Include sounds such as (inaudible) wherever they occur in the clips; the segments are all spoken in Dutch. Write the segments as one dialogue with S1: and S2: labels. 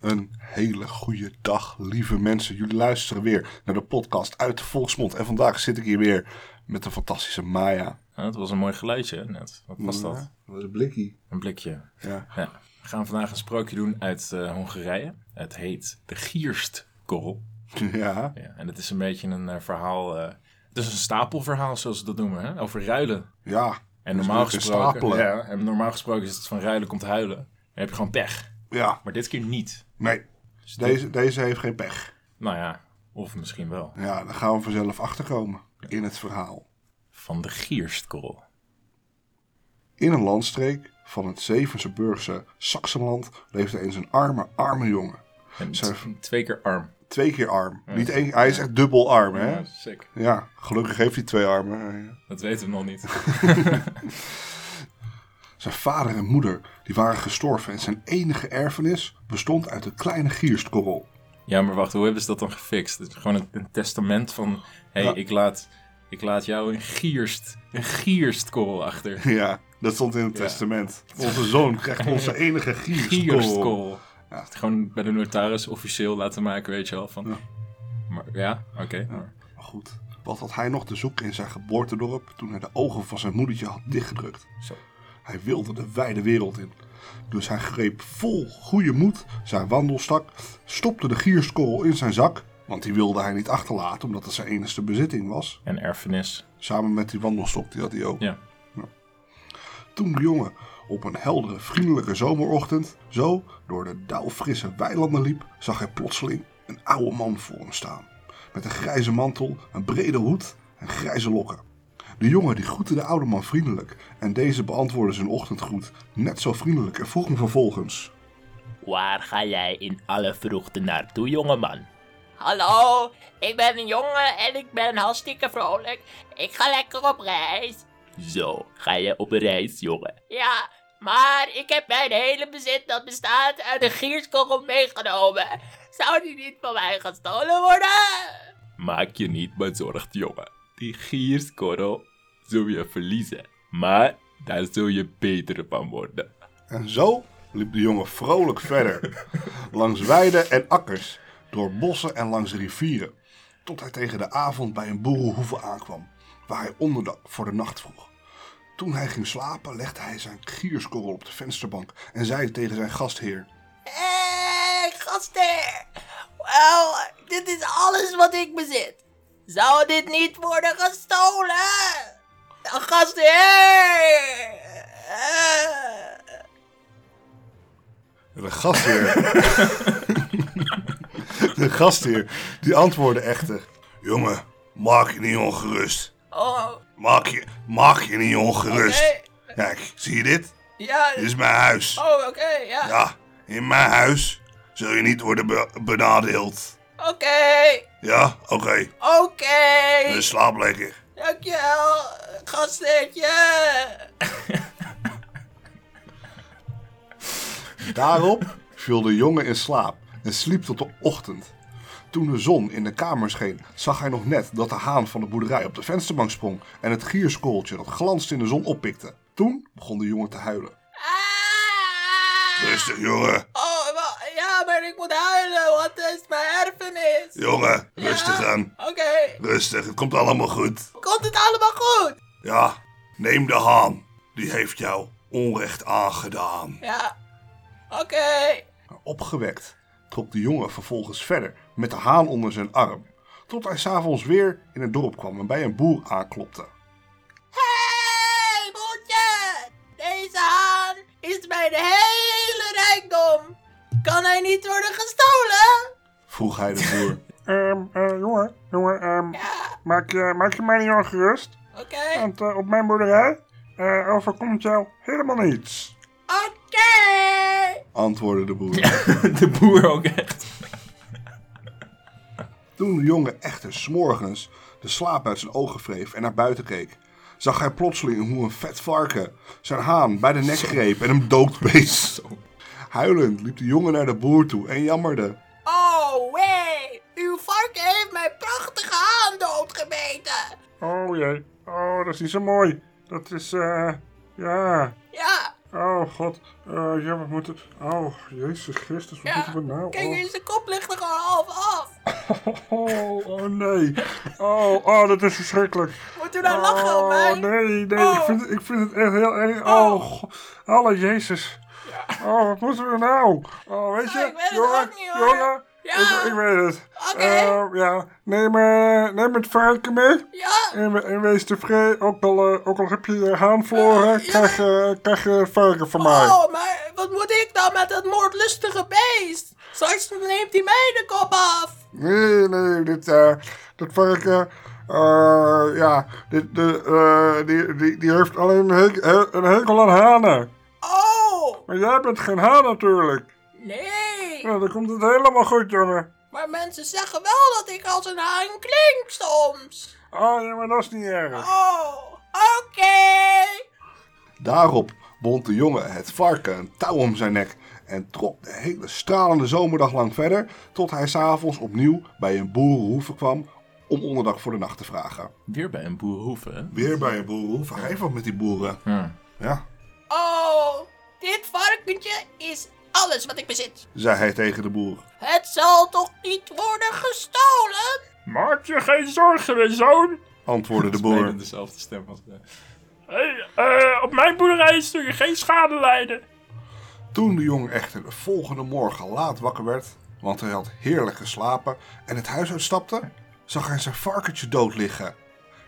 S1: Een hele goede dag, lieve mensen. Jullie luisteren weer naar de podcast uit de Volksmond. En vandaag zit ik hier weer met de fantastische Maya.
S2: Ja, dat was een mooi geluidje hè, net. Wat was dat?
S1: Ja, dat was een blikkie.
S2: Een blikje.
S1: Ja. (laughs)
S2: Ja. We gaan vandaag een sprookje doen uit eh, Hongarije. Het heet De Gierstkorrel.
S1: ja.
S2: Ja, en het is een beetje een eh, verhaal... eh, het is een stapelverhaal, zoals ze dat noemen, hè? over ruilen.
S1: Ja.
S2: En normaal
S1: Dus een
S2: gesproken,
S1: stapelen.
S2: ja, en normaal gesproken is het van ruilen komt huilen. Dan heb je gewoon pech.
S1: Ja.
S2: Maar dit keer niet.
S1: Nee. Deze, deze heeft geen pech.
S2: Nou ja, of misschien wel.
S1: Ja, daar gaan we vanzelf achterkomen in het verhaal.
S2: Van de Gierstkorrel.
S1: In een landstreek van het Zevenseburgse Saxenland leefde eens een arme, arme jongen.
S2: En
S1: Zo.
S2: t- twee keer arm.
S1: Twee keer arm. Niet één, hij is echt dubbel arm, hè?
S2: Ja, sick.
S1: Ja, gelukkig heeft hij twee armen.
S2: Dat weten we nog niet.
S1: Zijn vader en moeder die waren gestorven en zijn enige erfenis bestond uit een kleine gierstkorrel.
S2: Ja, maar wacht, hoe hebben ze dat dan gefixt? Het is gewoon een, een testament van... Hé, hey,
S1: Ja.
S2: ik, laat, ik laat jou een gierst, een gierstkorrel achter.
S1: Ja, dat stond in het
S2: Ja.
S1: testament. Onze zoon krijgt onze enige gierstkorrel.
S2: Gierstkorrel.
S1: Ja.
S2: Het gewoon bij de notaris officieel laten maken, weet je wel. Van,
S1: Ja.
S2: Maar, ja, oké. maar-
S1: Maar goed, wat had hij nog te zoeken in zijn geboortedorp toen hij de ogen van zijn moedertje had dichtgedrukt?
S2: Zo.
S1: Hij wilde de wijde wereld in. Dus hij greep vol goede moed zijn wandelstak, stopte de gierskorrel in zijn zak, want die wilde hij niet achterlaten omdat het zijn enigste bezitting was.
S2: En erfenis.
S1: Samen met die wandelstok, die had hij ook.
S2: Ja.
S1: Toen de jongen op een heldere, vriendelijke zomerochtend zo door de dauwfrisse weilanden liep, zag hij plotseling een oude man voor hem staan. Met een grijze mantel, een brede hoed en grijze lokken. De jongen die groette de oude man vriendelijk en deze beantwoordde zijn ochtendgroet net zo vriendelijk en vroeg hem vervolgens.
S3: Waar ga jij in alle vroegte naartoe, jongeman? Hallo, ik ben een jongen en ik ben hartstikke vrolijk. Ik ga lekker op reis. Zo, ga je op reis, jongen? Ja, maar ik heb mijn hele bezit dat bestaat uit een gierskorrel meegenomen. Zou die niet van mij gestolen worden?
S2: Maak je niet bezorgd, jongen. Die gierskorrel zul je verliezen. Maar daar zul je beter van worden. (laughs)
S1: En zo liep de jongen vrolijk (laughs) verder, langs weiden en akkers, door bossen en langs rivieren, tot hij tegen de avond bij een boerenhoeve aankwam, waar hij onderdak voor de nacht vroeg. Toen hij ging slapen, legde hij zijn gierskorrel op de vensterbank en zei tegen zijn gastheer:
S3: Hé, Eh, gasten! Wel, dit is alles wat ik bezit. Zou dit niet worden gestolen? Dan gastheer! Eh.
S1: De (laughs) gastheer. de gastheer, die antwoordde echter: Jongen, maak je niet ongerust.
S3: Oh,
S1: Maak je, maak je niet ongerust.
S3: Oké.
S1: Kijk, zie je dit?
S3: ja.
S1: Dit is mijn huis.
S3: Oh, oké, ja.
S1: Ja, in mijn huis zul je niet worden be- benadeeld.
S3: Oké,
S1: Ja, oké.
S3: oké.
S1: Dus slaap lekker.
S3: Dankjewel, gastheertje.
S1: Daarop viel de jongen in slaap en sliep tot de ochtend. Toen de zon in de kamer scheen, zag hij nog net dat de haan van de boerderij op de vensterbank sprong en het gierskorreltje dat glanste in de zon oppikte. Toen begon de jongen te huilen.
S3: Ah!
S1: Rustig, jongen.
S3: Oh, wa- ja, maar ik moet huilen, want het is mijn erfenis.
S1: Jongen,
S3: Ja, Oké.
S1: Rustig, het komt allemaal goed.
S3: Komt het allemaal goed?
S1: Ja, neem de haan. Die heeft jou onrecht aangedaan.
S3: Ja. Oké.
S1: Opgewekt trok de jongen vervolgens verder met de haan onder zijn arm, tot hij s'avonds weer in het dorp kwam en bij een boer aanklopte.
S3: Hey, boertje! Deze haan is mijn hele rijkdom. Kan hij niet worden gestolen?
S1: Vroeg hij de boer.
S4: (laughs) Ehm, eh, jongen, jongen, ehm,
S3: Ja.
S4: maak, je, maak je mij niet ongerust.
S3: Oké.
S4: Want eh, op mijn boerderij eh, overkomt jou helemaal niets.
S3: Oké.
S1: Antwoordde de boer.
S2: de boer ook echt.
S1: Toen de jongen echter s'morgens de slaap uit zijn ogen wreef en naar buiten keek, zag hij plotseling hoe een vet varken zijn haan bij de nek greep en hem
S3: (laughs)
S1: doodbeest. Huilend liep de jongen naar de boer toe en jammerde.
S3: Oh, wee. Uw varken heeft mijn prachtige haan doodgebeten.
S4: Oh jee, oh dat is niet zo mooi. Dat is, eh, ja,
S3: Ja.
S4: Oh god, Eh, ja, we moeten... Oh, Jezus Christus, wat
S3: Ja,
S4: moeten we nou?
S3: Kijk
S4: Oh.
S3: eens, de kop ligt er gewoon half af.
S4: Oh, oh nee. Oh, oh, dat is verschrikkelijk.
S3: Moeten we nou lachen,
S4: oh,
S3: Omijn?
S4: nee, nee.
S3: Oh.
S4: Ik, vind, ik vind het echt heel erg. Oh, go- alle Jezus. Oh, wat moeten we nou? Oh, weet je,
S3: ik weet het
S4: jongen,
S3: ook niet, hoor.
S4: jongen,
S3: Ja.
S4: ik, ik weet het.
S3: Oké.
S4: Eh, ja, neem, eh, neem het varken mee
S3: Ja,
S4: en, we- en wees tevreden. Ook al, eh, ook al heb je je haan verloren,
S3: Ja.
S4: krijg, je krijg je het varken van mij.
S3: oh, maar wat moet ik dan met dat moordlustige beest? Straks neemt hij mij de kop af.
S4: Nee, nee, dit, eh, dit varken, eh, ja, dit, de, eh, die, die, die heeft alleen een, hek- he- een hekel aan hanen.
S3: Oh,
S4: Maar jij bent geen haan natuurlijk.
S3: nee.
S4: Nou, dan komt het helemaal goed, jongen.
S3: Maar mensen zeggen wel dat ik als een haan klink soms.
S4: Oh, ja, maar dat is niet erg.
S3: Oh, oké.
S1: Daarop bond de jongen het varken een touw om zijn nek en trok de hele stralende zomerdag lang verder tot hij s'avonds opnieuw bij een boerenhoeve kwam om onderdak voor de nacht te vragen.
S2: Weer bij een boerenhoeve.
S1: Weer bij een boerenhoeve, hij heeft wat met die boeren.
S2: Ja.
S1: Ja,
S3: Oh, dit varkentje is alles wat ik bezit.
S1: zei hij tegen de boer.
S3: Het zal toch niet worden gestolen?
S5: Maak je geen zorgen, mijn zoon.
S2: (laughs)
S1: Antwoordde de
S2: Bijna
S1: boer.
S2: dezelfde stem als eh,
S5: Hey, eh, op mijn boerderij zul je geen schade lijden.
S1: Toen de jongen echter de volgende morgen laat wakker werd, want hij had heerlijk geslapen en het huis uitstapte, zag hij zijn varkentje dood liggen.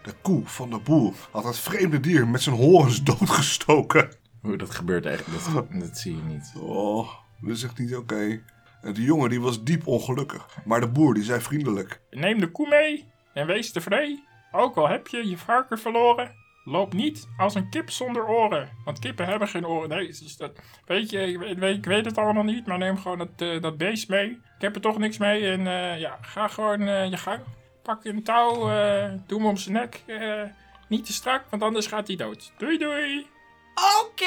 S1: De koe van de boer had het vreemde dier met zijn horens (laughs) doodgestoken.
S2: hoe dat gebeurt eigenlijk. Dat, dat zie je niet.
S1: Oh, dat is echt niet oké. En die jongen die was diep ongelukkig, maar de boer die zei vriendelijk.
S5: Neem de koe mee en wees tevreden. Ook al heb je je varken verloren, loop niet als een kip zonder oren. Want kippen hebben geen oren. Nee, dus dat, weet je, ik weet, weet- ik weet het allemaal niet, maar neem gewoon dat, eh, dat beest mee. Ik heb er toch niks mee en eh, ja, ga gewoon eh, je gang. Pak een touw, eh, doe hem om zijn nek. eh, niet te strak, want anders gaat hij dood. Doei doei!
S3: Oké.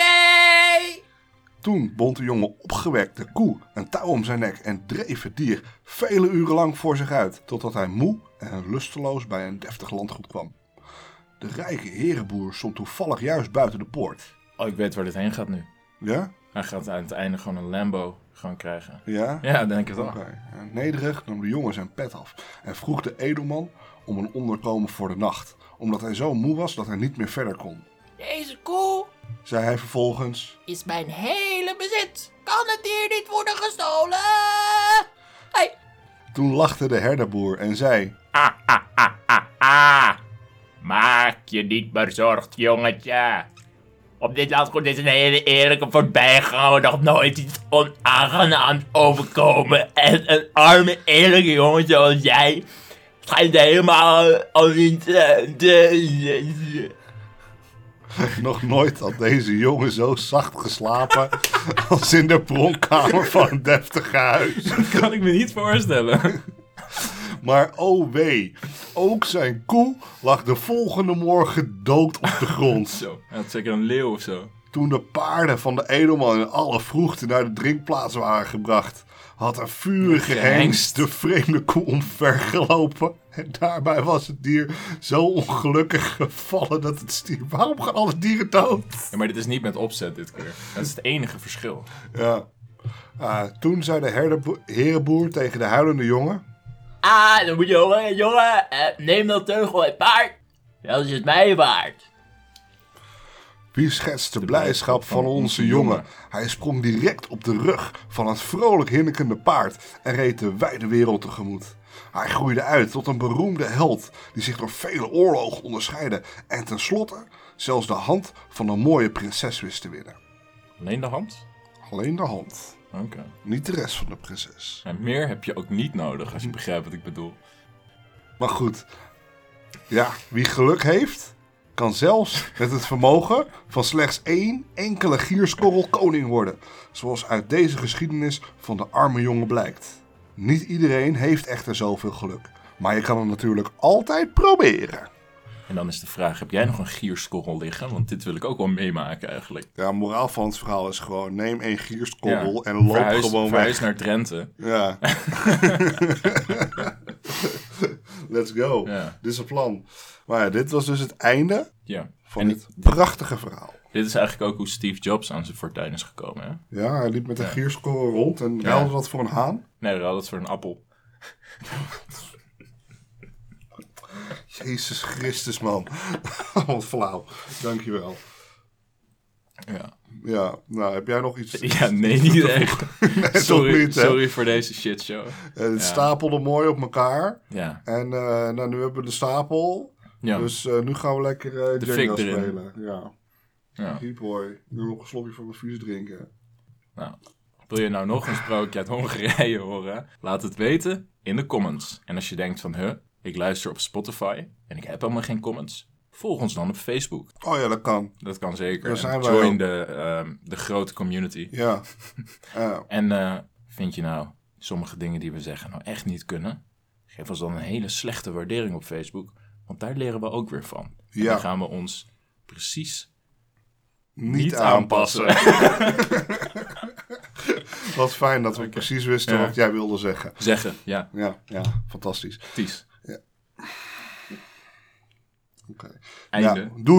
S1: Toen bond de jongen opgewekt de koe een touw om zijn nek en dreef het dier vele uren lang voor zich uit, totdat hij moe en lusteloos bij een deftig landgoed kwam. De rijke herenboer stond toevallig juist buiten de poort.
S2: Oh, ik weet waar dit heen gaat nu.
S1: Ja?
S2: Hij gaat aan het einde gewoon een Lambo gaan krijgen.
S1: Ja?
S2: Ja, denk ik wel.
S1: Oké. En Nederig nam de jongen zijn pet af en vroeg de edelman om een onderkomen voor de nacht, omdat hij zo moe was dat hij niet meer verder kon.
S3: Deze koe
S1: Zei hij vervolgens...
S3: is mijn hele bezit. Kan het dier niet worden gestolen? Hey,
S1: Toen lachte de herderboer en zei:
S3: Ah, ah, ah, ah, ah. Maak je niet bezorgd, jongetje. Op dit landgoed is een hele eerlijke voorbijganger nog nooit iets onaangenaams overkomen. En een arme, eerlijke jongetje als jij schijnt helemaal eh, al niet... eh, te-
S1: Nog nooit had deze jongen zo zacht geslapen. als in de pronkkamer van een deftig huis.
S2: Kan ik me niet voorstellen.
S1: Maar oh wee, ook zijn koe lag de volgende morgen dood op de grond.
S2: Zo. Hij had zeker een leeuw of zo.
S1: Toen de paarden van de edelman in alle vroegte naar de drinkplaats waren gebracht, had een vurige hengst de vreemde koe omvergelopen. En daarbij was het dier zo ongelukkig gevallen dat het stierf. Waarom gaan alle dieren dood?
S2: Ja, maar dit is niet met opzet dit keer. Dat is het enige verschil.
S1: Ja. Ah, toen zei de herdebo- herenboer tegen de huilende jongen.
S3: Ah, dan moet je jongen, jongen, eh, neem dat teugel en paard. Dat is het mij waard.
S1: Wie schetst de blijdschap van onze jongen? Hij sprong direct op de rug van het vrolijk hinnikende paard en reed de wijde wereld tegemoet. Hij groeide uit tot een beroemde held die zich door vele oorlogen onderscheidde en tenslotte zelfs de hand van een mooie prinses wist te winnen.
S2: Alleen de hand?
S1: Alleen de hand,
S2: Oké.
S1: niet de rest van de prinses.
S2: En meer heb je ook niet nodig, als je begrijpt wat ik bedoel.
S1: Maar goed, ja, wie geluk heeft, kan zelfs met het vermogen van slechts één enkele gierskorrel koning worden. Zoals uit deze geschiedenis van de arme jongen blijkt. Niet iedereen heeft echter zoveel geluk. Maar je kan het natuurlijk altijd proberen.
S2: En dan is de vraag, heb jij nog een gierskorrel liggen? Want dit wil ik ook wel meemaken eigenlijk.
S1: Ja, moraal van het verhaal is gewoon: neem één
S2: Ja.
S1: gierskorrel en loop
S2: Verhuis-
S1: gewoon weg.
S2: verhuis naar Drenthe. (laughs)
S1: Ja. Let's go.
S2: Ja.
S1: Dit is het plan. Maar ja, dit was dus het einde
S2: Ja.
S1: van
S2: En
S1: dit prachtige verhaal.
S5: Dit is eigenlijk ook hoe Steve Jobs aan zijn fortuin is gekomen. Hè?
S1: Ja, hij liep met een gierskorrel rond en ruilde dat voor een haan.
S5: Nee, hij had het voor een appel.
S1: Jezus Christus, man. (laughs) Wat flauw. Dankjewel.
S5: Ja,
S1: Ja, nou, heb jij nog iets?
S5: (laughs) (laughs) ja nee, niet echt.
S1: toch
S5: sorry,
S1: niet, hè?
S5: sorry voor deze shitshow.
S1: Eh, het stapelde mooi op elkaar.
S5: Ja,
S1: En eh, nou, nu hebben we de stapel.
S5: ja.
S1: Dus eh, nu gaan we lekker eh
S5: De
S1: Django
S5: fik erin.
S1: spelen. Ja.
S5: ja.
S1: Hier, boy. Nu nog een slokje van mijn vuur drinken.
S5: Wil je nou nog een sprookje uit Hongarije horen? Laat het weten in de comments. En als je denkt van, huh, ik luister op Spotify en ik heb helemaal geen comments. Volg ons dan op Facebook.
S1: Oh ja, dat kan.
S5: Dat kan zeker.
S1: Daar
S5: En
S1: zijn wij
S5: Join
S1: al.
S5: de, ehm, de grote community. (laughs)
S1: Ja. Eh,
S5: En eh, vind je nou sommige dingen die we zeggen nou echt niet kunnen? Geef ons dan een hele slechte waardering op Facebook. Want daar leren we ook weer van. En
S1: Ja.
S5: dan gaan we ons precies
S1: niet,
S5: niet
S1: aanpassen.
S5: aanpassen. (laughs)
S1: Wat fijn dat we precies wisten
S5: Ja.
S1: wat jij wilde zeggen.
S5: zeggen, ja,
S1: Ja, ja fantastisch.
S5: Ties.
S1: Oké.
S5: Einde.
S1: Ja, doei.